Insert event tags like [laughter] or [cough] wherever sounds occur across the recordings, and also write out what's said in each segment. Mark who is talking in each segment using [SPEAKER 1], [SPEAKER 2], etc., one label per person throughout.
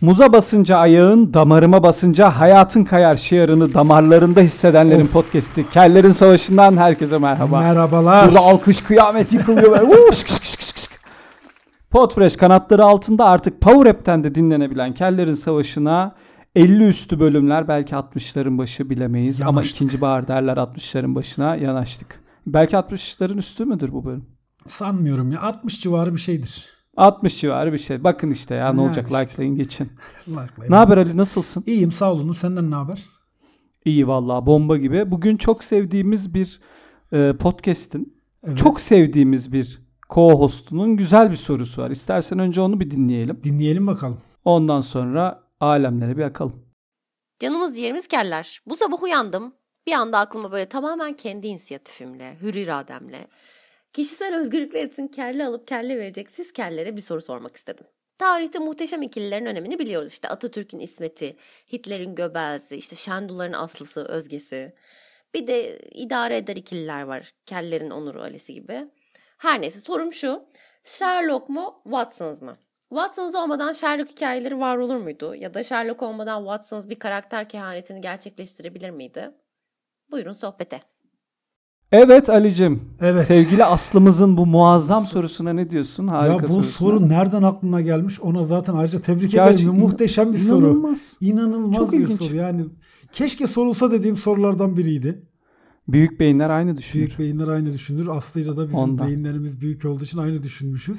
[SPEAKER 1] Muza basınca ayağın, damarıma basınca hayatın kayar şiarını damarlarında hissedenlerin podcast'i. Kellerin Savaşı'ndan herkese merhaba.
[SPEAKER 2] Merhabalar.
[SPEAKER 1] Burada alkış kıyamet yıkılıyor
[SPEAKER 2] [laughs]
[SPEAKER 1] böyle. Vuu, şık şık şık şık şık. Podfresh kanatları altında artık Power App'ten de dinlenebilen Kellerin Savaşı'na 50 üstü bölümler belki 60'ların başı bilemeyiz ama
[SPEAKER 2] Yanaştık.
[SPEAKER 1] ikinci bahar derler 60'ların başına yanaştık. Belki 60'ların üstü müdür bu bölüm?
[SPEAKER 2] Sanmıyorum ya 60 civarı bir şeydir.
[SPEAKER 1] 60 civarı bir şey. Bakın işte ya ne
[SPEAKER 2] Yani
[SPEAKER 1] olacak
[SPEAKER 2] işte.
[SPEAKER 1] likelayın geçin.
[SPEAKER 2] Like'layın.
[SPEAKER 1] Ne haber Ali nasılsın?
[SPEAKER 2] İyiyim sağ olun. Senden ne haber?
[SPEAKER 1] İyi vallahi bomba gibi. Bugün çok sevdiğimiz bir e, podcast'in
[SPEAKER 2] Evet.
[SPEAKER 1] çok sevdiğimiz bir co-host'unun güzel bir sorusu var. İstersen önce onu bir dinleyelim.
[SPEAKER 2] Dinleyelim bakalım.
[SPEAKER 1] Ondan sonra alemlere bir akalım.
[SPEAKER 3] Canımız ciğerimiz keller. Bu sabah uyandım. Bir anda aklıma böyle tamamen kendi inisiyatifimle, hür irademle, kişisel özgürlükler için kelle alıp kelle verecek siz kellere bir soru sormak istedim. Tarihte muhteşem ikililerin önemini biliyoruz. İşte Atatürk'ün İsmet'i, Hitler'in Göbel'si, işte Şendular'ın Aslı'sı, Özge'si. Bir de idare eder ikililer var. Kellerin Onur'u, Ali'si gibi. Her neyse sorum şu. Sherlock mu, Watson's mı? Watson's olmadan Sherlock hikayeleri var olur muydu? Ya da Sherlock olmadan Watson's bir karakter kehanetini gerçekleştirebilir miydi? Buyurun sohbete.
[SPEAKER 1] Evet Ali'cim.
[SPEAKER 2] Evet.
[SPEAKER 1] Sevgili Aslımızın bu muazzam sorusuna ne diyorsun? Harika
[SPEAKER 2] ya bu
[SPEAKER 1] sorusuna.
[SPEAKER 2] soru nereden aklına gelmiş ona zaten ayrıca tebrik
[SPEAKER 1] Gerçi
[SPEAKER 2] ederim.
[SPEAKER 1] in-
[SPEAKER 2] Muhteşem bir soru.
[SPEAKER 1] İnanılmaz.
[SPEAKER 2] İnanılmaz
[SPEAKER 1] Çok
[SPEAKER 2] bir
[SPEAKER 1] ilginç.
[SPEAKER 2] soru. Yani keşke sorulsa dediğim sorulardan biriydi.
[SPEAKER 1] Büyük beyinler aynı düşünür.
[SPEAKER 2] Büyük beyinler aynı düşünür. Aslı'yla da bizim
[SPEAKER 1] Ondan.
[SPEAKER 2] beyinlerimiz büyük olduğu için aynı düşünmüşüz.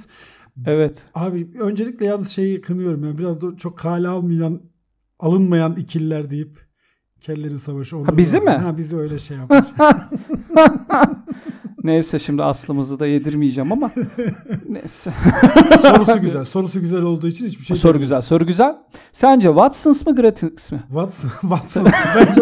[SPEAKER 1] Evet.
[SPEAKER 2] Abi öncelikle yalnız şeyi kınıyorum. Yani biraz da çok kale almayan, alınmayan ikililer deyip kellerin savaşı onları
[SPEAKER 1] bizi
[SPEAKER 2] yapıyor.
[SPEAKER 1] mi?
[SPEAKER 2] Ha bizi öyle
[SPEAKER 1] [laughs]
[SPEAKER 2] şey yapmış.
[SPEAKER 1] Neyse şimdi Aslımızı da yedirmeyeceğim
[SPEAKER 2] [laughs]
[SPEAKER 1] ama neyse.
[SPEAKER 2] sorusu güzel. Sorusu güzel olduğu için hiçbir şey
[SPEAKER 1] soru güzel. Soru güzel. Sence Watson's mı Gratis mi?
[SPEAKER 2] Watson, Watson. bence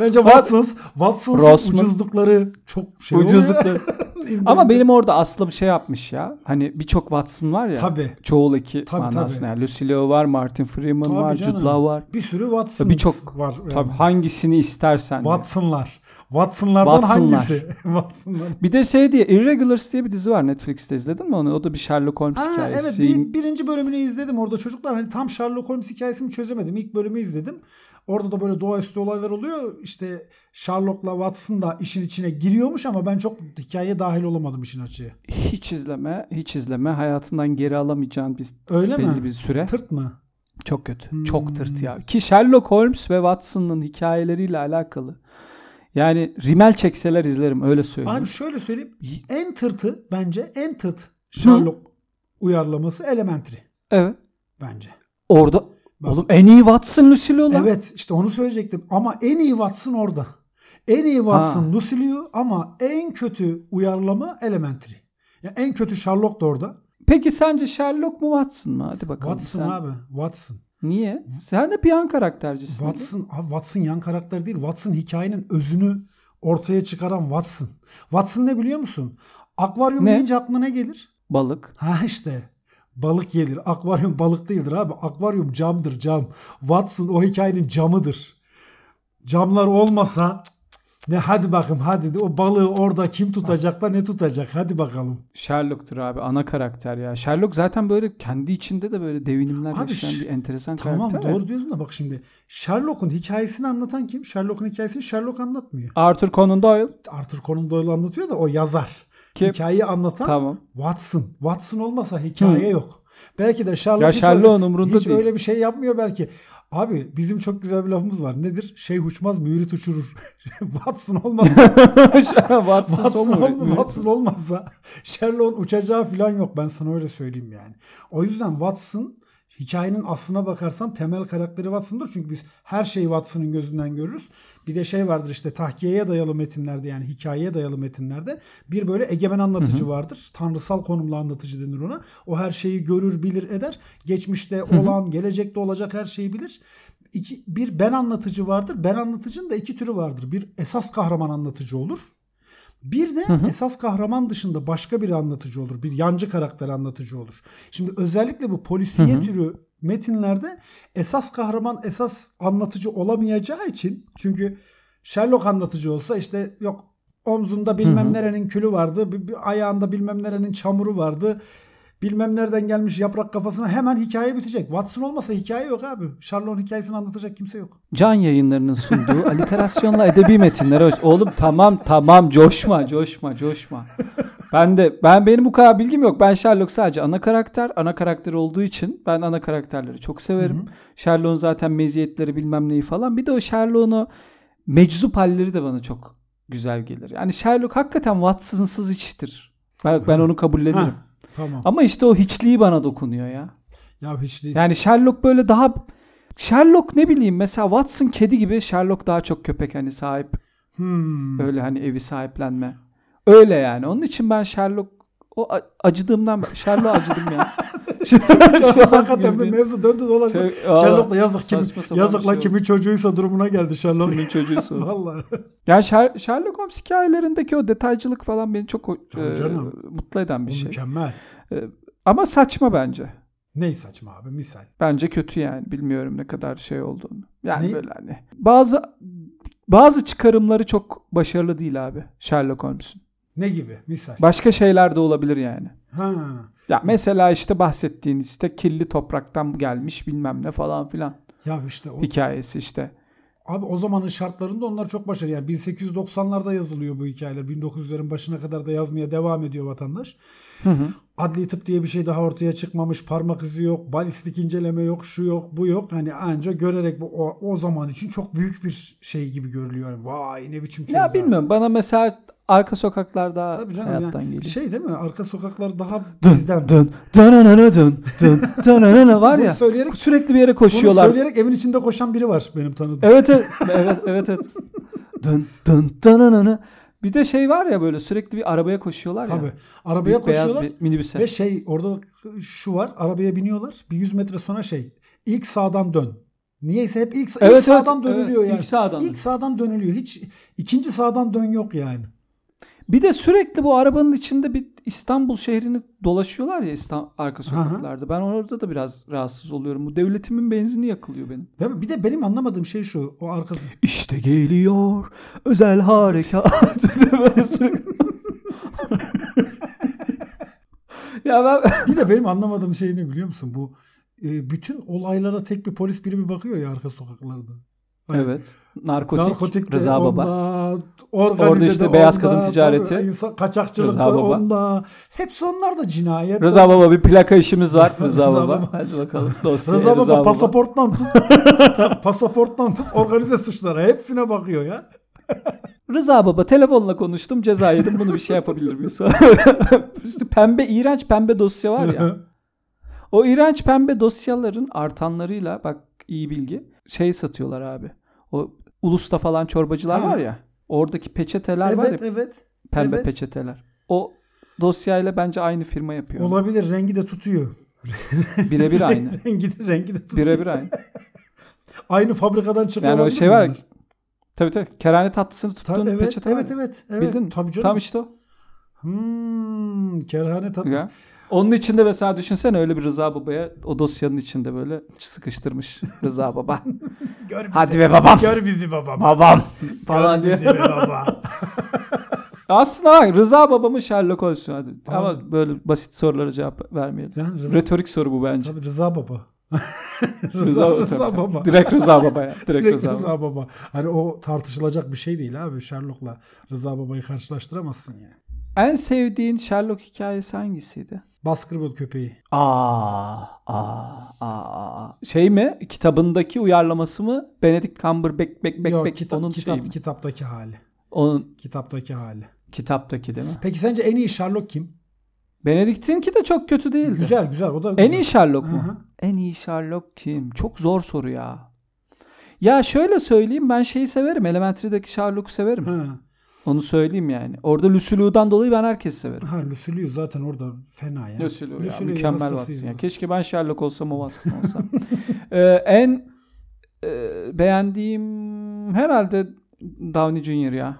[SPEAKER 2] bence Watson's, Watson's
[SPEAKER 1] Ross mu?
[SPEAKER 2] ucuzlukları çok şey oluyor. [laughs]
[SPEAKER 1] Ucuzlukları. Ama
[SPEAKER 2] İmrendim.
[SPEAKER 1] benim orada Aslım şey yapmış ya. Hani birçok Watson var ya.
[SPEAKER 2] Tabii.
[SPEAKER 1] Çoğul iki
[SPEAKER 2] Tabii,
[SPEAKER 1] manasına.
[SPEAKER 2] tabii.
[SPEAKER 1] Yani Lucy Liu var, Martin Freeman
[SPEAKER 2] Tabii
[SPEAKER 1] var,
[SPEAKER 2] canım.
[SPEAKER 1] Jude Law var.
[SPEAKER 2] bir sürü Watson
[SPEAKER 1] Ya birçok-
[SPEAKER 2] var. yani.
[SPEAKER 1] Tabii hangisini istersen. diyor.
[SPEAKER 2] Watson'lar. Watson'lardan
[SPEAKER 1] Watson'lar.
[SPEAKER 2] hangisi? [laughs] Watson'lar.
[SPEAKER 1] Bir de şey diye Irregulars diye bir dizi var Netflix'te izledin mi onu? O da bir Sherlock Holmes
[SPEAKER 2] Ha, evet
[SPEAKER 1] hikayesi.
[SPEAKER 2] bir, birinci bölümünü izledim orada çocuklar hani tam Sherlock Holmes hikayesini çözemedim ilk bölümü izledim orada da böyle doğaüstü olaylar oluyor işte Sherlock'la Watson da işin içine giriyormuş ama ben çok hikayeye dahil olamadım işin açığı
[SPEAKER 1] Hiç izleme, hiç izleme. Hayatından geri alamayacağın bir
[SPEAKER 2] Öyle
[SPEAKER 1] belli
[SPEAKER 2] mi?
[SPEAKER 1] bir süre.
[SPEAKER 2] tırt mı?
[SPEAKER 1] Çok kötü.
[SPEAKER 2] Hmm.
[SPEAKER 1] Çok tırt ya. Ki Sherlock Holmes ve Watson'ın hikayeleriyle alakalı. Yani rimel çekseler izlerim öyle söyleyeyim.
[SPEAKER 2] Abi şöyle söyleyeyim
[SPEAKER 1] Y-
[SPEAKER 2] en tırtı bence en tırt Sherlock uyarlaması Elementary
[SPEAKER 1] Evet.
[SPEAKER 2] bence.
[SPEAKER 1] Orada
[SPEAKER 2] Bak.
[SPEAKER 1] oğlum en iyi Watson Lucille olan.
[SPEAKER 2] Evet işte onu söyleyecektim ama en iyi Watson orada. En iyi Watson
[SPEAKER 1] Ha.
[SPEAKER 2] Lucy Liu ama en kötü uyarlama Elementary. Ya en kötü Sherlock da orada.
[SPEAKER 1] Peki sence Sherlock mu Watson mı? Hadi bakalım.
[SPEAKER 2] Watson
[SPEAKER 1] sen.
[SPEAKER 2] abi. Watson.
[SPEAKER 1] Niye? Sen de bir yan karaktercisin. değil mi?
[SPEAKER 2] Watson abi Watson yan karakter değil. Watson hikayenin özünü ortaya çıkaran Watson. Watson ne biliyor musun? Akvaryum
[SPEAKER 1] Ne?
[SPEAKER 2] deyince aklına ne gelir?
[SPEAKER 1] Balık.
[SPEAKER 2] Ha işte. Balık gelir. Akvaryum balık değildir abi. Akvaryum camdır cam. Watson o hikayenin camıdır. Camlar olmasa ne hadi bakayım hadi de o balığı orada kim tutacak da ne tutacak hadi bakalım.
[SPEAKER 1] Sherlock'tur abi ana karakter ya. Sherlock zaten böyle kendi içinde de böyle devinimler
[SPEAKER 2] Abi
[SPEAKER 1] yaşayan
[SPEAKER 2] ş-
[SPEAKER 1] bir enteresan
[SPEAKER 2] Tamam
[SPEAKER 1] karakter. ya.
[SPEAKER 2] doğru diyorsun da bak şimdi Sherlock'un hikayesini anlatan kim? Sherlock'un hikayesini Sherlock anlatmıyor.
[SPEAKER 1] Arthur Conan Doyle.
[SPEAKER 2] Arthur Conan Doyle anlatıyor da o yazar.
[SPEAKER 1] Ki,
[SPEAKER 2] Hikayeyi anlatan
[SPEAKER 1] tamam.
[SPEAKER 2] Watson. Watson olmasa hikaye yok. Belki de Sherlock,
[SPEAKER 1] Ya
[SPEAKER 2] hiç
[SPEAKER 1] Sherlock'un
[SPEAKER 2] öyle-
[SPEAKER 1] umrunda
[SPEAKER 2] hiç
[SPEAKER 1] değil.
[SPEAKER 2] öyle bir şey yapmıyor belki. Abi bizim çok güzel bir lafımız var. Nedir? Şey uçmaz mürit uçurur. [laughs] Watson olmasa,
[SPEAKER 1] [laughs] Watson,
[SPEAKER 2] Watson,
[SPEAKER 1] Sommer.
[SPEAKER 2] olma- Watson olmasa Sherlock'un uçacağı falan yok. Ben sana öyle söyleyeyim yani. O yüzden Watson hikayenin aslına bakarsan temel karakteri Watson'dır. Çünkü biz her şeyi Watson'ın gözünden görürüz. Bir de şey vardır işte tahkiyeye dayalı metinlerde yani hikayeye dayalı metinlerde bir böyle egemen anlatıcı vardır. Tanrısal konumlu anlatıcı denir ona. O her şeyi görür, bilir, eder. Geçmişte olan, gelecekte olacak her şeyi bilir. İki, bir ben anlatıcı vardır. Ben anlatıcının da iki türü vardır. Bir esas kahraman anlatıcı olur. Bir de
[SPEAKER 1] Hı hı.
[SPEAKER 2] esas kahraman dışında başka bir anlatıcı olur. Bir yancı karakter anlatıcı olur. Şimdi özellikle bu polisiye
[SPEAKER 1] Hı hı.
[SPEAKER 2] türü metinlerde esas kahraman esas anlatıcı olamayacağı için çünkü Sherlock anlatıcı olsa işte yok omzunda bilmem
[SPEAKER 1] Hı hı.
[SPEAKER 2] nerenin külü vardı, bir, bir ayağında bilmem nerenin çamuru vardı. bilmem nereden gelmiş yaprak kafasına hemen hikaye bitecek. Watson olmasa hikaye yok abi. Sherlock'un hikayesini anlatacak kimse yok.
[SPEAKER 1] Can yayınlarının sunduğu aliterasyonla edebi metinler. Hoş- Oğlum tamam tamam coşma coşma coşma. Ben de ben benim bu kadar bilgim yok. Ben Sherlock sadece ana karakter. Ana karakter olduğu için ben ana karakterleri çok severim. Sherlock'un zaten meziyetleri bilmem neyi falan. Bir de o Sherlock'un o meczup halleri de bana çok güzel gelir. Yani Sherlock hakikaten Watson'sız hiçtir. Ben, ben onu kabullenirim.
[SPEAKER 2] Ha, tamam.
[SPEAKER 1] Ama işte o hiçliği bana dokunuyor ya.
[SPEAKER 2] Ya hiç değil.
[SPEAKER 1] Yani Sherlock böyle daha Sherlock ne bileyim mesela Watson kedi gibi Sherlock daha çok köpek hani sahip
[SPEAKER 2] Hmm. [laughs]
[SPEAKER 1] öyle hani evi sahiplenme. Öyle yani. Onun için ben Sherlock o a- acıdığımdan Sherlock acıdım ya. Şu- şu an
[SPEAKER 2] [laughs] Hakikaten bir
[SPEAKER 1] bildiğin-
[SPEAKER 2] mevzu döndü dolaştı.
[SPEAKER 1] Şey, valla
[SPEAKER 2] Sherlock da yazık kimi,
[SPEAKER 1] saçma sapan
[SPEAKER 2] yazık
[SPEAKER 1] bir
[SPEAKER 2] lan
[SPEAKER 1] şey
[SPEAKER 2] kimin çocuğuysa durumuna geldi Sherlock.
[SPEAKER 1] kimin çocuğusu. o.
[SPEAKER 2] [laughs] Vallahi.
[SPEAKER 1] yani Sher- Sherlock Holmes hikayelerindeki o detaycılık falan beni çok o-
[SPEAKER 2] Tabii
[SPEAKER 1] e,
[SPEAKER 2] canım.
[SPEAKER 1] mutlu eden bir
[SPEAKER 2] Bu
[SPEAKER 1] şey.
[SPEAKER 2] Mükemmel.
[SPEAKER 1] Ama saçma bence.
[SPEAKER 2] Ney saçma abi misal.
[SPEAKER 1] Bence kötü yani. Bilmiyorum ne kadar şey olduğunu. Yani
[SPEAKER 2] Ne?
[SPEAKER 1] böyle hani. Bazı bazı çıkarımları çok başarılı değil abi Sherlock Holmes'un.
[SPEAKER 2] Ne gibi misal.
[SPEAKER 1] Başka şeyler de olabilir yani.
[SPEAKER 2] Ha.
[SPEAKER 1] Ya mesela işte bahsettiğin işte kirli topraktan gelmiş bilmem ne falan filan
[SPEAKER 2] Ya işte o,
[SPEAKER 1] hikayesi işte.
[SPEAKER 2] abi o zamanın şartlarında onlar çok başarılı. Yani 1890'larda yazılıyor bu hikayeler. 1900'lerin başına kadar da yazmaya devam ediyor vatandaş.
[SPEAKER 1] Hı hı.
[SPEAKER 2] Adli tıp diye bir şey daha ortaya çıkmamış. Parmak izi yok, balistik inceleme yok, şu yok, bu yok. Hani anca görerek bu o, o zaman için çok büyük bir şey gibi görülüyor. Yani vay ne biçim çözler.
[SPEAKER 1] Ya bilmiyorum bana mesela arka sokaklar daha
[SPEAKER 2] Tabii canım
[SPEAKER 1] hayattan
[SPEAKER 2] yani
[SPEAKER 1] geliyor.
[SPEAKER 2] Şey değil mi? Arka sokaklar daha
[SPEAKER 1] Dön
[SPEAKER 2] bizden.
[SPEAKER 1] dön
[SPEAKER 2] [laughs]
[SPEAKER 1] dön dön dön dön var
[SPEAKER 2] Bunu
[SPEAKER 1] ya
[SPEAKER 2] söyleyerek-
[SPEAKER 1] sürekli bir yere
[SPEAKER 2] Bunu
[SPEAKER 1] koşuyorlar.
[SPEAKER 2] söyleyerek evin içinde koşan biri var benim tanıdığım.
[SPEAKER 1] Evet evet evet evet. evet. Dın dın dın dın dın. Bir de şey var ya böyle sürekli bir arabaya koşuyorlar ya.
[SPEAKER 2] Tabii.
[SPEAKER 1] Büyük
[SPEAKER 2] Arabaya
[SPEAKER 1] beyaz
[SPEAKER 2] koşuyorlar.
[SPEAKER 1] bir minibüse.
[SPEAKER 2] Ve şey orada şu var arabaya biniyorlar bir 100 metre sonra şey ilk sağdan dön. Niyeyse hep ilk,
[SPEAKER 1] Evet,
[SPEAKER 2] ilk sağdan
[SPEAKER 1] evet,
[SPEAKER 2] dönülüyor
[SPEAKER 1] evet,
[SPEAKER 2] yani.
[SPEAKER 1] ilk sağdan dön.
[SPEAKER 2] İlk sağdan dönülüyor. Hiç ikinci sağdan dön yok yani.
[SPEAKER 1] Bir de sürekli bu arabanın içinde bir İstanbul şehrini dolaşıyorlar ya İstanbul arka
[SPEAKER 2] Hı hı.
[SPEAKER 1] sokaklarda. Ben orada da biraz rahatsız oluyorum. Bu devletimin benzini yakılıyor benim.
[SPEAKER 2] Değil mi? Bir de benim anlamadığım şey şu o arkası.
[SPEAKER 1] İşte geliyor özel [laughs] harekat. Böyle
[SPEAKER 2] [laughs]
[SPEAKER 1] sürekli- ya ben
[SPEAKER 2] [laughs] Bir de benim anlamadığım şey ne biliyor musun? Bu e, bütün olaylara tek bir polis birimi bakıyor ya arka sokaklarda. Hani
[SPEAKER 1] evet. Narkotik,
[SPEAKER 2] Narkotik de
[SPEAKER 1] Rıza Baba.
[SPEAKER 2] onda, organize
[SPEAKER 1] Orada işte
[SPEAKER 2] de
[SPEAKER 1] beyaz kadın
[SPEAKER 2] onda,
[SPEAKER 1] ticareti.
[SPEAKER 2] tabii insan- kaçakçılık
[SPEAKER 1] Rıza
[SPEAKER 2] da
[SPEAKER 1] Baba.
[SPEAKER 2] onda. Hepsi onlar da cinayet. [laughs]
[SPEAKER 1] Rıza Baba bir plaka işimiz var. Rıza
[SPEAKER 2] Rıza
[SPEAKER 1] Baba.
[SPEAKER 2] Baba.
[SPEAKER 1] Hadi bakalım [laughs] dosyaya
[SPEAKER 2] Rıza Baba pasaporttan
[SPEAKER 1] [laughs]
[SPEAKER 2] tut pasaporttan tut organize suçlara hepsine bakıyor ya.
[SPEAKER 1] Rıza Baba telefonla konuştum ceza yedim. Bunu bir şey yapabilir miyiz? [laughs] işte pembe iğrenç pembe dosya var ya.
[SPEAKER 2] [laughs]
[SPEAKER 1] O iğrenç pembe dosyaların artanlarıyla bak iyi bilgi şey satıyorlar abi. O Ulus'ta falan çorbacılar
[SPEAKER 2] Ha.
[SPEAKER 1] var ya. Oradaki peçeteler var ya
[SPEAKER 2] evet evet.
[SPEAKER 1] pembe
[SPEAKER 2] evet.
[SPEAKER 1] peçeteler. O dosyayla bence aynı firma yapıyor.
[SPEAKER 2] Olabilir rengi de tutuyor. [laughs]
[SPEAKER 1] Birebir aynı.
[SPEAKER 2] rengi de rengi de tutuyor.
[SPEAKER 1] Birebir aynı.
[SPEAKER 2] Aynı fabrikadan çıkıyor.
[SPEAKER 1] Yani o
[SPEAKER 2] olabilir
[SPEAKER 1] şey
[SPEAKER 2] mi
[SPEAKER 1] var. ya-
[SPEAKER 2] bunlar?
[SPEAKER 1] Tabii tabii. Kerane tatlısını
[SPEAKER 2] Ta-
[SPEAKER 1] tuttuğun
[SPEAKER 2] evet,
[SPEAKER 1] peçete var
[SPEAKER 2] evet,
[SPEAKER 1] ya.
[SPEAKER 2] evet evet
[SPEAKER 1] Bildin mi?
[SPEAKER 2] Tabii canım.
[SPEAKER 1] Tam işte o.
[SPEAKER 2] Hmm, kerhane tatlı.
[SPEAKER 1] Ya. Onun içinde mesela düşünsene öyle bir Rıza Baba'ya o dosyanın içinde böyle sıkıştırmış Rıza Baba.
[SPEAKER 2] Gör bizi.
[SPEAKER 1] Hadi be babam.
[SPEAKER 2] Gör bizi
[SPEAKER 1] [laughs]
[SPEAKER 2] babam.
[SPEAKER 1] Babam
[SPEAKER 2] Gör
[SPEAKER 1] [laughs] falan diye.
[SPEAKER 2] bizi
[SPEAKER 1] [laughs]
[SPEAKER 2] be baba.
[SPEAKER 1] Aslında bak Rıza babamın Sherlock olsun hadi. Ama
[SPEAKER 2] Abi.
[SPEAKER 1] böyle basit sorulara cevap vermeyelim.
[SPEAKER 2] Can Rıza,
[SPEAKER 1] Retorik soru bu bence.
[SPEAKER 2] tabii Rıza baba. [laughs] Rıza,
[SPEAKER 1] Rıza,
[SPEAKER 2] Rıza
[SPEAKER 1] tabii, tabii.
[SPEAKER 2] baba.
[SPEAKER 1] Direkt Rıza Baba [laughs] ya. Direkt,
[SPEAKER 2] Direkt
[SPEAKER 1] Rıza, Baba.
[SPEAKER 2] Rıza Baba. Hani o tartışılacak bir şey değil abi. Sherlock'la Rıza Baba'yı karşılaştıramazsın yani.
[SPEAKER 1] En sevdiğin Sherlock hikayesi hangisiydi?
[SPEAKER 2] Baskerville köpeği.
[SPEAKER 1] Aa, aa, aa. Şey mi? Kitabındaki uyarlaması mı? Benedict Cumberbatch bek bek
[SPEAKER 2] Yok,
[SPEAKER 1] bek
[SPEAKER 2] kitap,
[SPEAKER 1] onun
[SPEAKER 2] kitap,
[SPEAKER 1] şeyi mi?
[SPEAKER 2] kitaptaki hali.
[SPEAKER 1] Onun
[SPEAKER 2] Kitaptaki hali.
[SPEAKER 1] kitaptaki değil mi?
[SPEAKER 2] Peki sence en iyi Sherlock kim?
[SPEAKER 1] Benedict'inki de çok kötü değildi.
[SPEAKER 2] Güzel güzel. O da
[SPEAKER 1] En
[SPEAKER 2] güzel.
[SPEAKER 1] iyi Sherlock mu?
[SPEAKER 2] Aha.
[SPEAKER 1] En iyi Sherlock kim? Çok zor soru ya. Ya şöyle söyleyeyim ben şeyi severim. Elementary'deki Sherlock'u severim.
[SPEAKER 2] Ha.
[SPEAKER 1] Onu söyleyeyim yani. Orada Lucilu'dan dolayı ben herkesi severim.
[SPEAKER 2] ha Lucilius zaten orada fena ya.
[SPEAKER 1] Luciliu ya
[SPEAKER 2] Luciliu'ya
[SPEAKER 1] mükemmel
[SPEAKER 2] hastasıyız
[SPEAKER 1] Watson ya.
[SPEAKER 2] biz.
[SPEAKER 1] Keşke ben Sherlock olsam o Watson olsam. [laughs] Ee, en e, beğendiğim herhalde Downey Jr. ya.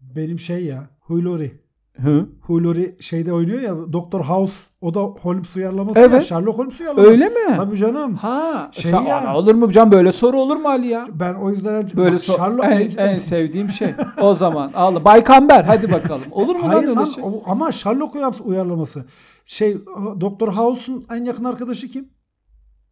[SPEAKER 2] Benim şey ya. Huylori.
[SPEAKER 1] Hı.
[SPEAKER 2] Hugh Laurie şeyde oynuyor ya Doktor House o da Holmes uyarlaması ya
[SPEAKER 1] Evet.
[SPEAKER 2] Sherlock Holmes uyarlaması.
[SPEAKER 1] Öyle mi?
[SPEAKER 2] Tabii canım.
[SPEAKER 1] Ha,
[SPEAKER 2] Şey
[SPEAKER 1] sen-
[SPEAKER 2] ya.
[SPEAKER 1] Ana olur mu can böyle soru olur mu Ali ya?
[SPEAKER 2] Ben o yüzden
[SPEAKER 1] Böyle
[SPEAKER 2] Bak,
[SPEAKER 1] sor-
[SPEAKER 2] Sherlock
[SPEAKER 1] en,
[SPEAKER 2] en-
[SPEAKER 1] en sevdiğim
[SPEAKER 2] [laughs]
[SPEAKER 1] şey. O zaman al Baykamber hadi bakalım. Olur mu
[SPEAKER 2] Hayır
[SPEAKER 1] lan öyle
[SPEAKER 2] lan
[SPEAKER 1] şey?
[SPEAKER 2] o- ama Sherlock Holmes uyarlaması. Şey Doktor House'un en yakın arkadaşı kim?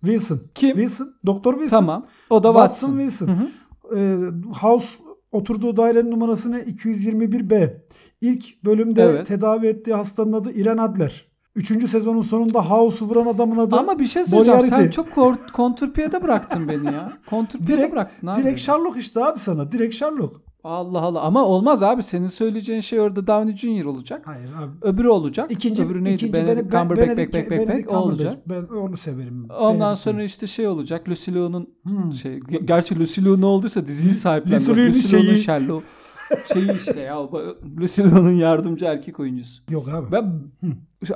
[SPEAKER 2] Wilson.
[SPEAKER 1] Kim?
[SPEAKER 2] Wilson. Doktor Wilson.
[SPEAKER 1] Tamam. O da Watson.
[SPEAKER 2] Watson, Wilson.
[SPEAKER 1] Hı hı.
[SPEAKER 2] Ee, House oturduğu dairenin numarasını 221B. İlk bölümde
[SPEAKER 1] Evet.
[SPEAKER 2] tedavi ettiği hastanın adı İren Adler. Üçüncü sezonun sonunda House'u vuran adamın adı
[SPEAKER 1] Ama bir şey söyleyeceğim. Sen
[SPEAKER 2] Moriarty.
[SPEAKER 1] çok kor- kontrpiyede bıraktın beni ya. Kontrpiyede
[SPEAKER 2] Direkt-
[SPEAKER 1] bıraktın abi.
[SPEAKER 2] direkt Sherlock işte abi sana. Direkt Sherlock.
[SPEAKER 1] Allah Allah. Ama olmaz abi. Senin söyleyeceğin şey orada Downey Jr. olacak.
[SPEAKER 2] Hayır abi.
[SPEAKER 1] Öbürü olacak.
[SPEAKER 2] İkinci,
[SPEAKER 1] Öbürü neydi?
[SPEAKER 2] ikinci
[SPEAKER 1] Benedict
[SPEAKER 2] Bene-
[SPEAKER 1] Cumberbatch
[SPEAKER 2] Benedict-
[SPEAKER 1] Beck, Beck, Beck,
[SPEAKER 2] Benedict
[SPEAKER 1] Beck, o olacak.
[SPEAKER 2] Cumberbatch. Ben onu severim.
[SPEAKER 1] Ondan
[SPEAKER 2] Benedict
[SPEAKER 1] sonra işte şey olacak. Lucy Liu'nun
[SPEAKER 2] Hmm.
[SPEAKER 1] şey ge- gerçi Lucy Liu ne olduysa diziyi sahiplendi.
[SPEAKER 2] Lucy Liu'nun
[SPEAKER 1] Lucy Liu'nun
[SPEAKER 2] şeyi. [laughs]
[SPEAKER 1] Sherlock şeyi işte ya. bu- Lucy Liu'nun yardımcı erkek oyuncusu.
[SPEAKER 2] Yok abi.
[SPEAKER 1] Ben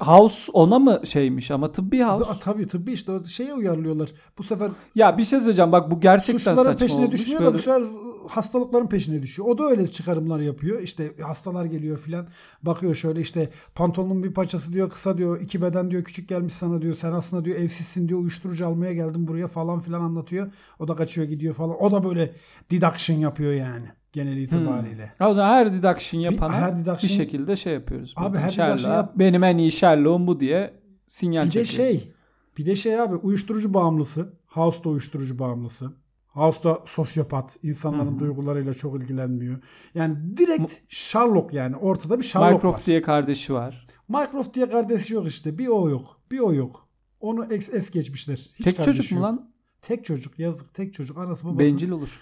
[SPEAKER 1] House ona mı şeymiş ama tıbbi House.
[SPEAKER 2] Aa, tabii tıbbi işte o şeye uyarlıyorlar. Bu sefer
[SPEAKER 1] Ya bir şey söyleyeceğim bak bu gerçekten
[SPEAKER 2] suçluların
[SPEAKER 1] saçma
[SPEAKER 2] peşine
[SPEAKER 1] olmuş.
[SPEAKER 2] düşmüyor da
[SPEAKER 1] Böyle-
[SPEAKER 2] bu sefer hastalıkların peşine düşüyor. O da öyle çıkarımlar yapıyor. İşte hastalar geliyor filan. Bakıyor şöyle işte pantolonun bir parçası diyor kısa diyor. iki beden diyor küçük gelmiş sana diyor. Sen aslında diyor evsizsin diyor. Uyuşturucu almaya geldim buraya falan filan anlatıyor. O da kaçıyor gidiyor falan. O da böyle deduction yapıyor yani
[SPEAKER 1] Hmm.
[SPEAKER 2] genel itibariyle.
[SPEAKER 1] Ya O zaman her deduction yapana bir,
[SPEAKER 2] her deduction-
[SPEAKER 1] şekilde şey yapıyoruz.
[SPEAKER 2] Abi
[SPEAKER 1] Bakın
[SPEAKER 2] her
[SPEAKER 1] Sherlock,
[SPEAKER 2] deduction yap-
[SPEAKER 1] Benim en iyi Sherlock'um bu diye sinyal
[SPEAKER 2] Bir de
[SPEAKER 1] çekiyoruz.
[SPEAKER 2] şey bir de şey abi uyuşturucu bağımlısı. House'da uyuşturucu bağımlısı. House'da sosyopat. insanların
[SPEAKER 1] Hı hı.
[SPEAKER 2] duygularıyla çok ilgilenmiyor. Yani direkt Sherlock yani. Ortada bir Sherlock
[SPEAKER 1] Mycroft
[SPEAKER 2] var.
[SPEAKER 1] diye kardeşi var.
[SPEAKER 2] Mycroft diye kardeşi yok işte. Bir o yok. Bir o yok. Onu es, es geçmişler. Hiç
[SPEAKER 1] Tek çocuk
[SPEAKER 2] kardeşi
[SPEAKER 1] mu
[SPEAKER 2] yok.
[SPEAKER 1] lan?
[SPEAKER 2] Tek çocuk yazık. Tek çocuk. Anası babası.
[SPEAKER 1] Bencil olur.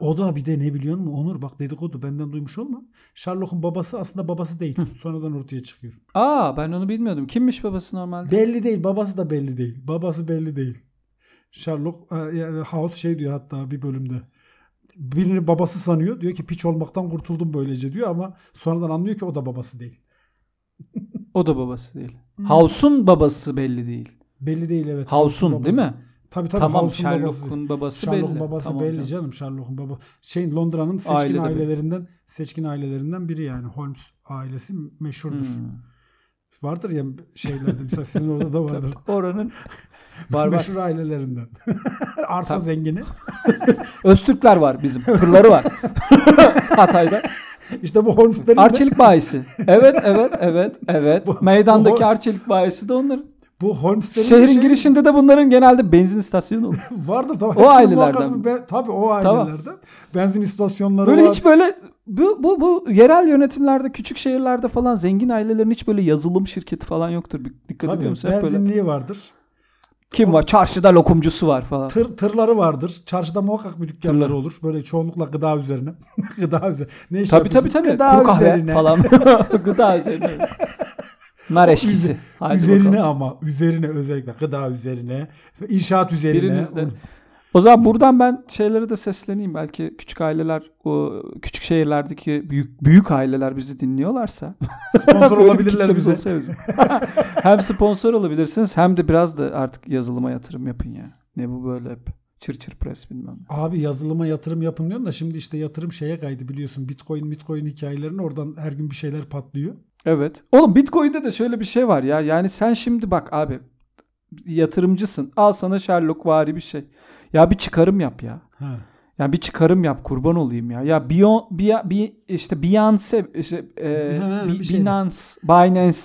[SPEAKER 2] O da bir de ne biliyor musun? Onur bak dedikodu benden duymuş olma. Sherlock'un babası aslında babası değil. Sonradan ortaya çıkıyor.
[SPEAKER 1] Aa ben onu bilmiyordum. Kimmiş babası normalde?
[SPEAKER 2] Belli değil. Babası da belli değil. Babası belli değil. Sherlock e, e, House şey diyor hatta bir bölümde. Birini babası sanıyor. Diyor ki piç olmaktan kurtuldum böylece diyor ama sonradan anlıyor ki o da babası değil.
[SPEAKER 1] o da babası değil.
[SPEAKER 2] Hmm.
[SPEAKER 1] House'un babası belli değil.
[SPEAKER 2] Belli değil evet.
[SPEAKER 1] House'un
[SPEAKER 2] E, babası.
[SPEAKER 1] değil mi?
[SPEAKER 2] Tabii tabii
[SPEAKER 1] tamam
[SPEAKER 2] House'un babası.
[SPEAKER 1] Sherlock'un babası,
[SPEAKER 2] Sherlock'un
[SPEAKER 1] belli.
[SPEAKER 2] babası
[SPEAKER 1] Tamam canım.
[SPEAKER 2] belli canım. Sherlock'un baba şey Londra'nın seçkin
[SPEAKER 1] Aile de belli.
[SPEAKER 2] ailelerinden seçkin ailelerinden biri yani Holmes ailesi meşhurdur.
[SPEAKER 1] Hmm.
[SPEAKER 2] Vardır ya
[SPEAKER 1] [laughs]
[SPEAKER 2] şeylerde mesela sizin orada da vardır.
[SPEAKER 1] Tabii,
[SPEAKER 2] [laughs]
[SPEAKER 1] Oranın var var.
[SPEAKER 2] Meşhur ailelerinden. [laughs] Arsa
[SPEAKER 1] Tabii.
[SPEAKER 2] zengini.
[SPEAKER 1] Öztürkler var bizim. Tırları
[SPEAKER 2] [laughs]
[SPEAKER 1] var. Hatay'da.
[SPEAKER 2] İşte bu Holmes'lerin de-
[SPEAKER 1] Arçelik bayisi. Evet, evet, evet, evet.
[SPEAKER 2] Bu-
[SPEAKER 1] Meydandaki
[SPEAKER 2] bu-
[SPEAKER 1] arçelik bayisi de onların.
[SPEAKER 2] bu Holmes'lerin de
[SPEAKER 1] Şehrin
[SPEAKER 2] şey-
[SPEAKER 1] girişinde de bunların genelde benzin istasyonu olur.
[SPEAKER 2] vardır tabii.
[SPEAKER 1] O
[SPEAKER 2] Hepsinin
[SPEAKER 1] ailelerden
[SPEAKER 2] muhakkak
[SPEAKER 1] mi?
[SPEAKER 2] bir be- tabii o
[SPEAKER 1] Tamam.
[SPEAKER 2] ailelerden. Benzin istasyonları
[SPEAKER 1] Böyle
[SPEAKER 2] var.
[SPEAKER 1] hiç böyle bu, bu, bu yerel yönetimlerde, küçük şehirlerde falan zengin ailelerin hiç böyle yazılım şirketi falan yoktur. Bir- Dikkat
[SPEAKER 2] tabii,
[SPEAKER 1] ediyor musun? Hep böyle
[SPEAKER 2] benzinliği vardır.
[SPEAKER 1] kim var? Çarşıda lokumcusu var falan.
[SPEAKER 2] Tır, tırları vardır. Çarşıda muhakkak bir dükkanları
[SPEAKER 1] Tırları.
[SPEAKER 2] olur. Böyle çoğunlukla gıda üzerine. [laughs] gıda üzerine. Ne iş
[SPEAKER 1] Tabii tabii
[SPEAKER 2] yapıyorsun?
[SPEAKER 1] tabii.
[SPEAKER 2] Gıda
[SPEAKER 1] Kuru kahve
[SPEAKER 2] üzerine. [laughs]
[SPEAKER 1] falan. [laughs] Gıda üzerine. Nar eşkisi. Haydi
[SPEAKER 2] üzerine
[SPEAKER 1] bakalım.
[SPEAKER 2] ama. Üzerine özellikle. Gıda üzerine. inşaat üzerine.
[SPEAKER 1] Biriniz [laughs] de- O zaman buradan ben şeylere de sesleneyim. Belki küçük aileler, o küçük şehirlerdeki büyük büyük aileler bizi dinliyorlarsa.
[SPEAKER 2] [laughs] Sponsor
[SPEAKER 1] Böyle bir
[SPEAKER 2] olabilirler
[SPEAKER 1] kitlemiz
[SPEAKER 2] bize.
[SPEAKER 1] olsa bizim. [laughs] hem sponsor olabilirsiniz hem de biraz da artık yazılıma yatırım yapın ya. Ne bu böyle hep çır çır pres bilmem ne.
[SPEAKER 2] Abi yazılıma yatırım yapın diyorsun da şimdi işte yatırım şeye kaydı biliyorsun. Bitcoin, Bitcoin hikayelerine oradan her gün bir şeyler patlıyor.
[SPEAKER 1] Evet. Oğlum Bitcoin'de de şöyle bir şey var ya. Yani sen şimdi bak abi yatırımcısın. Al sana Sherlock vari bir şey. Ya bir çıkarım yap ya.
[SPEAKER 2] Ha.
[SPEAKER 1] Ya bir çıkarım yap kurban olayım ya. Ya Bion, Bia- Bi- işte Beyonce işte e,
[SPEAKER 2] Ha,
[SPEAKER 1] Bi-
[SPEAKER 2] bir şeydir.
[SPEAKER 1] Binance, Binance,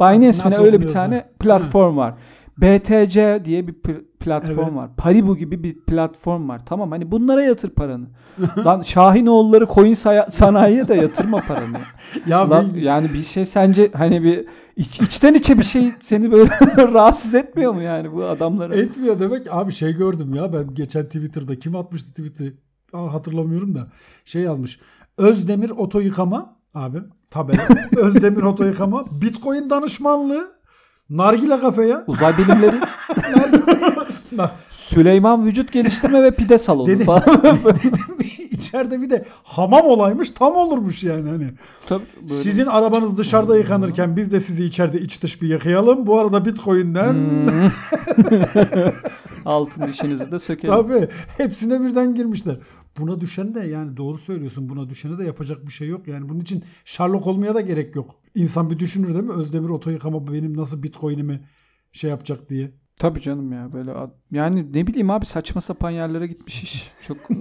[SPEAKER 1] Binance mi ne
[SPEAKER 2] Nasıl
[SPEAKER 1] öyle bir
[SPEAKER 2] okunuyorsa.
[SPEAKER 1] tane platform var. BTC diye bir pl- platform
[SPEAKER 2] Evet.
[SPEAKER 1] var. Paribu gibi bir platform var. Tamam hani bunlara yatır paranı. Lan Şahinoğulları coin saya- sanayiye de yatırma paranı.
[SPEAKER 2] Ya
[SPEAKER 1] Lan
[SPEAKER 2] bil-
[SPEAKER 1] yani bir şey sence hani bir iç- içten içe bir şey seni böyle [laughs] rahatsız etmiyor mu yani bu adamlara?
[SPEAKER 2] [laughs] Etmiyor demek ki. abi şey gördüm ya ben geçen Twitter'da kim atmıştı tweet'i Aa, hatırlamıyorum da şey yazmış. Özdemir oto yıkama abi
[SPEAKER 1] [laughs]
[SPEAKER 2] tabela. Özdemir oto yıkama Bitcoin danışmanlığı
[SPEAKER 1] [laughs]
[SPEAKER 2] nargile kafeye
[SPEAKER 1] Uzay bilimleri Süleyman vücut geliştirme ve pide salonu
[SPEAKER 2] Dedi. [laughs]
[SPEAKER 1] falan.
[SPEAKER 2] içeride bir de hamam olaymış tam olurmuş yani hani.
[SPEAKER 1] Tabii böyle.
[SPEAKER 2] Sizin arabanız dışarıda yıkanırken biz de sizi içeride iç dış bir yıkayalım. Bu arada Bitcoin'den [laughs]
[SPEAKER 1] Hmm. Altın dişinizi de sökelim.
[SPEAKER 2] tabii hepsine birden girmişler. Buna düşen de yani doğru söylüyorsun. Buna düşene de yapacak bir şey yok. Yani bunun için Sherlock olmaya da gerek yok. İnsan bir düşünür değil mi? Özdemir oto yıkama benim nasıl bitcoin'imi şey yapacak diye.
[SPEAKER 1] Tabii canım ya böyle ad- yani ne bileyim abi saçma sapan yerlere gitmiş iş. Çok
[SPEAKER 2] [laughs]
[SPEAKER 1] e,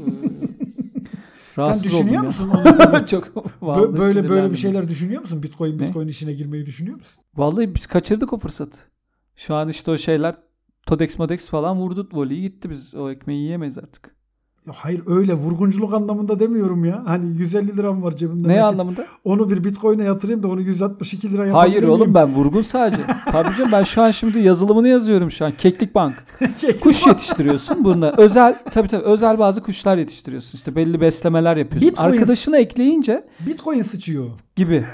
[SPEAKER 2] Sen
[SPEAKER 1] rahatsız
[SPEAKER 2] düşünüyor
[SPEAKER 1] oldum
[SPEAKER 2] musun?
[SPEAKER 1] ya.
[SPEAKER 2] onu?
[SPEAKER 1] [laughs] Çok vallahi
[SPEAKER 2] Bö- böyle böyle
[SPEAKER 1] sinirlendim.
[SPEAKER 2] bir şeyler düşünüyor musun? Bitcoin
[SPEAKER 1] Ne?
[SPEAKER 2] bitcoin işine girmeyi düşünüyor musun?
[SPEAKER 1] Vallahi biz kaçırdık o fırsatı. Şu an işte o şeyler Todex Modex falan vurdu voleyi gitti biz o ekmeği yiyemeyiz artık.
[SPEAKER 2] Ya Hayır öyle vurgunculuk anlamında demiyorum ya. Hani 150 liram var cebimde.
[SPEAKER 1] Ne
[SPEAKER 2] nakit. [laughs]
[SPEAKER 1] anlamında?
[SPEAKER 2] Onu bir bitcoin'e yatırayım da onu 162 lira yapabilir
[SPEAKER 1] Hayır oğlum ben vurgun sadece. Tabii canım ben şu an şimdi yazılımını yazıyorum şu an. Keklik Bank.
[SPEAKER 2] [laughs] ben. şey,
[SPEAKER 1] Kuş yetiştiriyorsun bunda. Özel tabii tabii özel bazı kuşlar yetiştiriyorsun. İşte belli beslemeler yapıyorsun.
[SPEAKER 2] Bitcoin.
[SPEAKER 1] Arkadaşına ekleyince
[SPEAKER 2] bitcoin sıçıyor. [laughs]
[SPEAKER 1] gibi.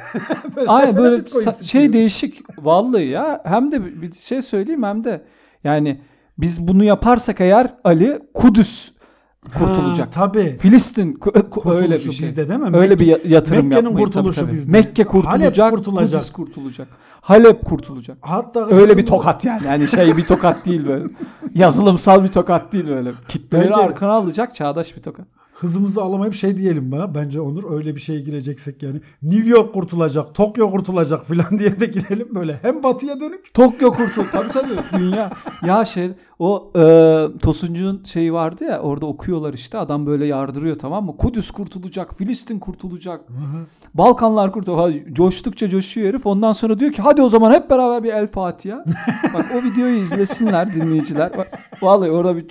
[SPEAKER 2] Böyle
[SPEAKER 1] Ay
[SPEAKER 2] tepene
[SPEAKER 1] böyle
[SPEAKER 2] Bitcoin
[SPEAKER 1] sa-
[SPEAKER 2] sıçıyor.
[SPEAKER 1] şey değişik vallahi ya. Hem de bir- bir şey söyleyeyim hem de yani biz bunu yaparsak eğer Ali Kudüs kurtulacak.
[SPEAKER 2] Ha, tabii.
[SPEAKER 1] Filistin ku- ku-
[SPEAKER 2] Kurtuluşu
[SPEAKER 1] öyle bir şey.
[SPEAKER 2] bizde değil mi?
[SPEAKER 1] Öyle bir
[SPEAKER 2] Mekke-
[SPEAKER 1] ya- yatırım
[SPEAKER 2] Mekke'nin
[SPEAKER 1] yapmayın tabii,
[SPEAKER 2] kurtuluşu
[SPEAKER 1] tabii.
[SPEAKER 2] bizde.
[SPEAKER 1] Mekke kurtulacak,
[SPEAKER 2] Halep kurtulacak.
[SPEAKER 1] Kudüs kurtulacak. Halep kurtulacak.
[SPEAKER 2] Hatta
[SPEAKER 1] Öyle
[SPEAKER 2] bizim
[SPEAKER 1] bir tokat yani. Yani şey bir tokat değil böyle. Yazılımsal bir tokat değil böyle. Kitleleri
[SPEAKER 2] Bence-
[SPEAKER 1] arkana alacak çağdaş bir tokat.
[SPEAKER 2] Hızımızı alamayıp şey diyelim be. Bence Onur öyle bir şeye gireceksek yani. New York kurtulacak, Tokyo kurtulacak filan [laughs] diye de girelim böyle. Hem batıya dönük.
[SPEAKER 1] Tokyo kurtul. Tabii tabii. Dünya. Ya şey o e, Tosuncu'nun şeyi vardı ya orada okuyorlar işte adam böyle yardırıyor tamam mı? Kudüs kurtulacak, Filistin kurtulacak, Balkanlar kurtulacak. Coştukça coşuyor herif. Ondan sonra diyor ki hadi o zaman hep beraber bir El Fatiha. Bak o videoyu izlesinler dinleyiciler. Bak, vallahi orada bir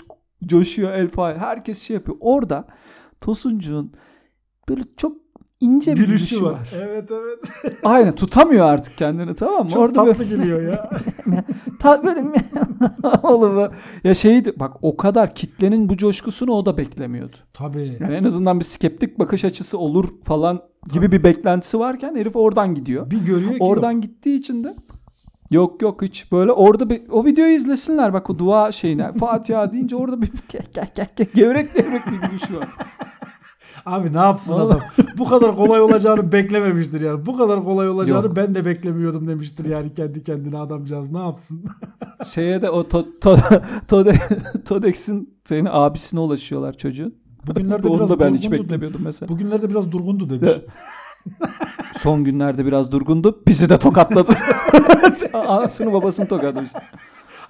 [SPEAKER 1] coşuyor El Fatiha. Herkes şey yapıyor. Orada Tosuncu'nun böyle çok ince bir gülüşü var.
[SPEAKER 2] Evet evet.
[SPEAKER 1] Aynen tutamıyor artık kendini tamam mı?
[SPEAKER 2] Çok
[SPEAKER 1] orada böyle-
[SPEAKER 2] tatlı geliyor ya.
[SPEAKER 1] [laughs] Ta böyle mi- oğlum ya. [laughs] ya şeydi bak o kadar kitlenin bu coşkusunu o da beklemiyordu.
[SPEAKER 2] Tabii.
[SPEAKER 1] Yani en azından bir skeptik bakış açısı olur falan gibi bir beklentisi varken herif oradan gidiyor.
[SPEAKER 2] Bir görüyor ki
[SPEAKER 1] Oradan
[SPEAKER 2] yok.
[SPEAKER 1] gittiği için de yok yok hiç böyle orada bir o videoyu izlesinler bak o dua şeyine [laughs] Fatiha deyince orada bir [laughs] kek kek kek kek gevrek gevrek bir gülüş var.
[SPEAKER 2] Abi ne yapsın
[SPEAKER 1] Vallahi- [laughs]
[SPEAKER 2] adam? Bu kadar kolay olacağını beklememiştir yani. Bu kadar kolay olacağını
[SPEAKER 1] Yok.
[SPEAKER 2] ben de beklemiyordum demiştir yani kendi kendine adamcağız.
[SPEAKER 1] [laughs]
[SPEAKER 2] Ne yapsın?
[SPEAKER 1] Şeye de o to, to, [laughs] Tode- Todex'in şeyine, abisine ulaşıyorlar çocuğun.
[SPEAKER 2] Bugünlerde
[SPEAKER 1] Onu
[SPEAKER 2] biraz
[SPEAKER 1] da ben hiç
[SPEAKER 2] durgundu.
[SPEAKER 1] beklemiyordum mesela.
[SPEAKER 2] Bugünlerde biraz
[SPEAKER 1] [laughs]
[SPEAKER 2] durgundu demiş.
[SPEAKER 1] Evet. Son günlerde biraz durgundu. Bizi de
[SPEAKER 2] [laughs]
[SPEAKER 1] tokatladı. [laughs] Anasını babasını tokatlamış.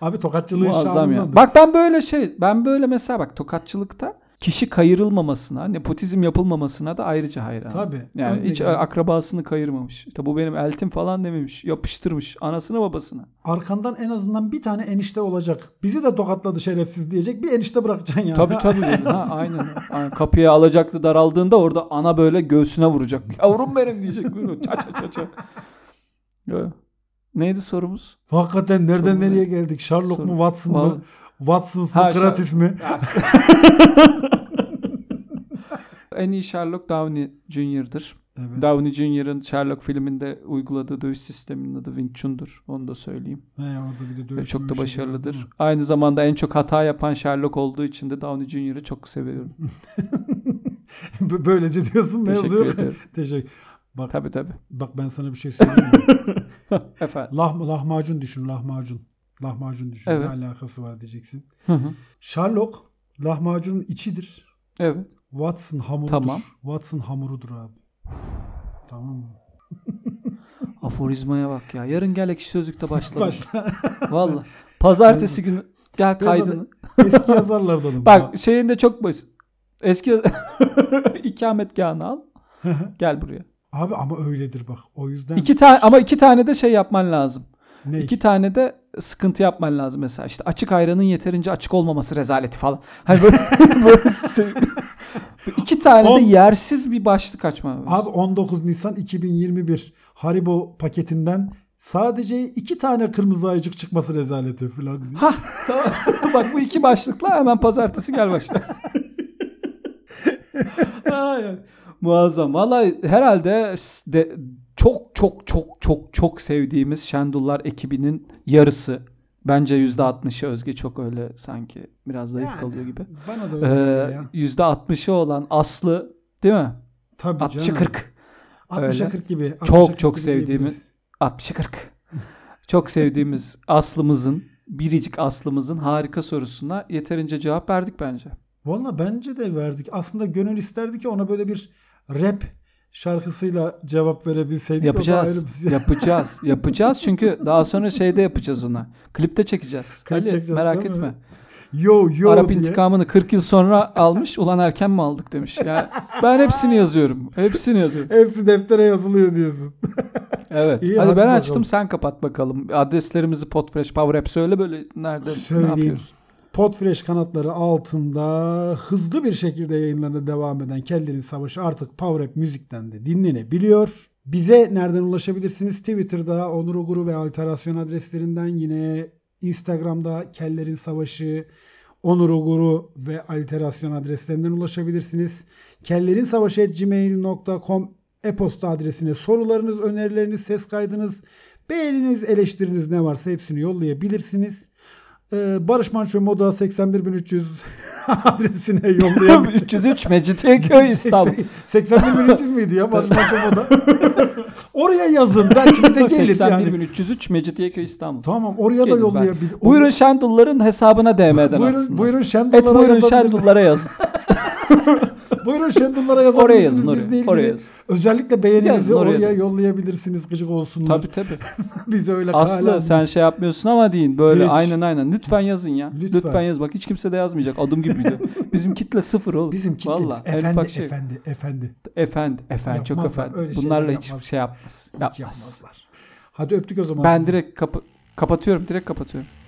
[SPEAKER 2] Abi tokatçılığın
[SPEAKER 1] Muazzam ya.
[SPEAKER 2] şanındandır.
[SPEAKER 1] Bak ben böyle şey, ben böyle mesela bak tokatçılıkta kişi kayırılmamasına, nepotizm yapılmamasına da ayrıca hayran.
[SPEAKER 2] Tabii.
[SPEAKER 1] Yani
[SPEAKER 2] Ben de
[SPEAKER 1] hiç
[SPEAKER 2] gel-
[SPEAKER 1] akrabasını kayırmamış. İşte bu benim eltim falan dememiş. Yapıştırmış anasını babasına.
[SPEAKER 2] Arkandan en azından bir tane enişte olacak. Bizi de tokatladı şerefsiz diyecek. Bir enişte bırakacaksın yani.
[SPEAKER 1] Tabii tabii. dedim. ha, aynen. aynen. Kapıya alacaktı daraldığında orada ana böyle göğsüne vuracak. Yavrum benim diyecek. Buyurun. Ça ça ça ça. Yo. Neydi sorumuz?
[SPEAKER 2] [laughs] Hakikaten nereden
[SPEAKER 1] Sorun
[SPEAKER 2] nereye geldik? Sherlock
[SPEAKER 1] Sorun.
[SPEAKER 2] mu Watson
[SPEAKER 1] Vallahi-
[SPEAKER 2] mı? Watson mı?
[SPEAKER 1] Ha,
[SPEAKER 2] Gratis mi?
[SPEAKER 1] En iyi Sherlock Downey Jr.'dır.
[SPEAKER 2] Evet.
[SPEAKER 1] Downey Jr.'ın Sherlock filminde uyguladığı dövüş sisteminin adı Wing Chun'dur. Onu da söyleyeyim.
[SPEAKER 2] He, orada bir de
[SPEAKER 1] Ve
[SPEAKER 2] dövüş
[SPEAKER 1] çok da
[SPEAKER 2] dövüş şeyler
[SPEAKER 1] başarılıdır.
[SPEAKER 2] oldu mu?
[SPEAKER 1] Aynı zamanda en çok hata yapan Sherlock olduğu için de Downey Jr.'ı çok seviyorum.
[SPEAKER 2] [laughs] B- Böylece diyorsun mevzu
[SPEAKER 1] Teşekkür
[SPEAKER 2] yok.
[SPEAKER 1] ediyorum.
[SPEAKER 2] [laughs] Teşekkür. Bak,
[SPEAKER 1] Tabii tabii.
[SPEAKER 2] bak ben sana bir şey söyleyeyim
[SPEAKER 1] [laughs]
[SPEAKER 2] mi?
[SPEAKER 1] Efendim.
[SPEAKER 2] Lah, lahmacun düşün lahmacun. Lahmacun düşün.
[SPEAKER 1] Evet.
[SPEAKER 2] Ne alakası var diyeceksin.
[SPEAKER 1] Hı hı.
[SPEAKER 2] Sherlock lahmacunun içidir.
[SPEAKER 1] evet.
[SPEAKER 2] Watson hamurudur.
[SPEAKER 1] Tamam.
[SPEAKER 2] Watson hamurudur abi. Tamam mı?
[SPEAKER 1] Aforizmaya bak ya. Yarın gel ekşi sözlükte başla.
[SPEAKER 2] Başla.
[SPEAKER 1] Valla. Pazartesi günü gel
[SPEAKER 2] Biraz da-
[SPEAKER 1] kaydını.
[SPEAKER 2] Eski yazarlardanım.
[SPEAKER 1] Bak şeyinde çok basit. Eski [laughs] ikametgahını al. Gel buraya.
[SPEAKER 2] Abi ama öyledir bak. O yüzden
[SPEAKER 1] İki tane ama iki tane de şey yapman lazım.
[SPEAKER 2] ne?
[SPEAKER 1] İki tane de sıkıntı yapman lazım mesela. İşte açık ayranın yeterince açık olmaması rezaleti falan. Hani böyle, [laughs] böyle şey. İki tane
[SPEAKER 2] On-
[SPEAKER 1] de yersiz bir başlık açman
[SPEAKER 2] Abi
[SPEAKER 1] lazım.
[SPEAKER 2] 19 Nisan 2021 Haribo paketinden sadece iki tane kırmızı ayıcık çıkması rezaleti falan. diye.
[SPEAKER 1] Hah tamam. [laughs] Bak bu iki başlıkla hemen pazartesi gel başla. Ay, ay. Muazzam. Vallahi herhalde s- de, çok çok çok çok çok sevdiğimiz Şendullar ekibinin yarısı. Bence %60'ı Özge çok öyle sanki biraz zayıf
[SPEAKER 2] Yani,
[SPEAKER 1] kalıyor gibi.
[SPEAKER 2] Bana da öyle geliyor
[SPEAKER 1] Ee,
[SPEAKER 2] ya.
[SPEAKER 1] %60'ı olan Aslı değil mi?
[SPEAKER 2] Tabii canım.
[SPEAKER 1] 60'ı 40.
[SPEAKER 2] 60'a
[SPEAKER 1] öyle.
[SPEAKER 2] 40 gibi. 60'a
[SPEAKER 1] Çok
[SPEAKER 2] 40
[SPEAKER 1] çok
[SPEAKER 2] gibi
[SPEAKER 1] sevdiğimi-
[SPEAKER 2] diyebiliriz.
[SPEAKER 1] 60'ı 40. Çok sevdiğimiz Aslı'mızın, biricik Aslı'mızın harika sorusuna yeterince cevap verdik bence.
[SPEAKER 2] Valla bence de verdik. Aslında gönül isterdi ki ona böyle bir rap şarkısıyla cevap verebilseydik. O da ayrı
[SPEAKER 1] Yapacağız.
[SPEAKER 2] bir şey. [laughs]
[SPEAKER 1] yapacağız. Yapacağız çünkü daha sonra şeyde yapacağız ona. Klipte çekeceğiz.
[SPEAKER 2] Klip
[SPEAKER 1] Ali,
[SPEAKER 2] çekeceğiz,
[SPEAKER 1] merak
[SPEAKER 2] değil mi?
[SPEAKER 1] etme.
[SPEAKER 2] yo yo
[SPEAKER 1] Arap
[SPEAKER 2] diye.
[SPEAKER 1] intikamını 40 yıl sonra almış. Ulan erken mi aldık demiş. Ya ben hepsini yazıyorum. Hepsini yazıyorum.
[SPEAKER 2] Hepsi deftere yazılıyor diyorsun.
[SPEAKER 1] Evet.
[SPEAKER 2] İyi,
[SPEAKER 1] hadi,
[SPEAKER 2] hadi
[SPEAKER 1] ben
[SPEAKER 2] bakalım.
[SPEAKER 1] açtım sen kapat bakalım. Adreslerimizi Podfresh Power App söyle böyle nerede ne
[SPEAKER 2] Söyleyeyim.
[SPEAKER 1] yapıyoruz? [laughs]
[SPEAKER 2] Podfresh kanatları altında hızlı bir şekilde yayınlarına devam eden Kellerin Savaşı artık Power App Müzik'ten de dinlenebiliyor. Bize nereden ulaşabilirsiniz? Twitter'da Onur Oguru ve Alterasyon adreslerinden yine Instagram'da Kellerin Savaşı, Onur Oguru ve Alterasyon adreslerinden ulaşabilirsiniz. Kellerin Savaşı e-posta adresine sorularınız, önerileriniz, ses kaydınız, beğeniniz, eleştiriniz ne varsa hepsini yollayabilirsiniz. Ee, Barış Manço Moda 81300 [laughs]
[SPEAKER 1] [laughs]
[SPEAKER 2] adresine yollayabilirsiniz.
[SPEAKER 1] 303
[SPEAKER 2] [laughs]
[SPEAKER 1] Mecidiyeköy İstanbul.
[SPEAKER 2] 81300 miydi ya Barış Manço
[SPEAKER 1] [laughs]
[SPEAKER 2] Moda? Oraya yazın. Belki bize gelir yani.
[SPEAKER 1] 81303 Mecidiyeköy İstanbul.
[SPEAKER 2] Tamam oraya da
[SPEAKER 1] Gelin ben.
[SPEAKER 2] yollayabilir.
[SPEAKER 1] Buyurun Şendulların hesabına DM'den
[SPEAKER 2] Buyurun,
[SPEAKER 1] atsınlar.
[SPEAKER 2] buyurun Şendullara
[SPEAKER 1] Et buyurun
[SPEAKER 2] yazabilirsiniz.
[SPEAKER 1] Şendullara yazın. [laughs]
[SPEAKER 2] Buyurun Şendullara yazabilirsiniz.
[SPEAKER 1] Oraya yazın, oraya,
[SPEAKER 2] Bizle ilgili
[SPEAKER 1] oraya yazın.
[SPEAKER 2] Özellikle beğeninizi
[SPEAKER 1] Yazın, oraya
[SPEAKER 2] oraya,
[SPEAKER 1] yazın.
[SPEAKER 2] yollayabilirsiniz. Gıcık olsunlar.
[SPEAKER 1] tabii tabii.
[SPEAKER 2] [laughs] Biz öyle
[SPEAKER 1] Aslı
[SPEAKER 2] kahraman-
[SPEAKER 1] sen şey yapmıyorsun ama deyin böyle
[SPEAKER 2] Hiç.
[SPEAKER 1] aynen aynen. Lütfen yazın ya.
[SPEAKER 2] Lütfen.
[SPEAKER 1] Lütfen, yaz. Bak hiç kimse de yazmayacak. Adım
[SPEAKER 2] [laughs]
[SPEAKER 1] gibiydi. Bizim kitle sıfır oğlum.
[SPEAKER 2] Bizim kitlemiz
[SPEAKER 1] Vallahi, en
[SPEAKER 2] efendi,
[SPEAKER 1] ufak şey.
[SPEAKER 2] efendi, efendi.
[SPEAKER 1] Efendi. Efendi. Çok
[SPEAKER 2] Yapmazlar,
[SPEAKER 1] efendi.
[SPEAKER 2] öyle
[SPEAKER 1] Bunlarla
[SPEAKER 2] şeyler
[SPEAKER 1] hiç
[SPEAKER 2] yapmaz.
[SPEAKER 1] şey yapmaz.
[SPEAKER 2] Hiç
[SPEAKER 1] yapmaz.
[SPEAKER 2] yapmazlar. Hadi öptük o zaman.
[SPEAKER 1] Ben
[SPEAKER 2] sizi.
[SPEAKER 1] direkt kapı kapatıyorum. Direkt kapatıyorum.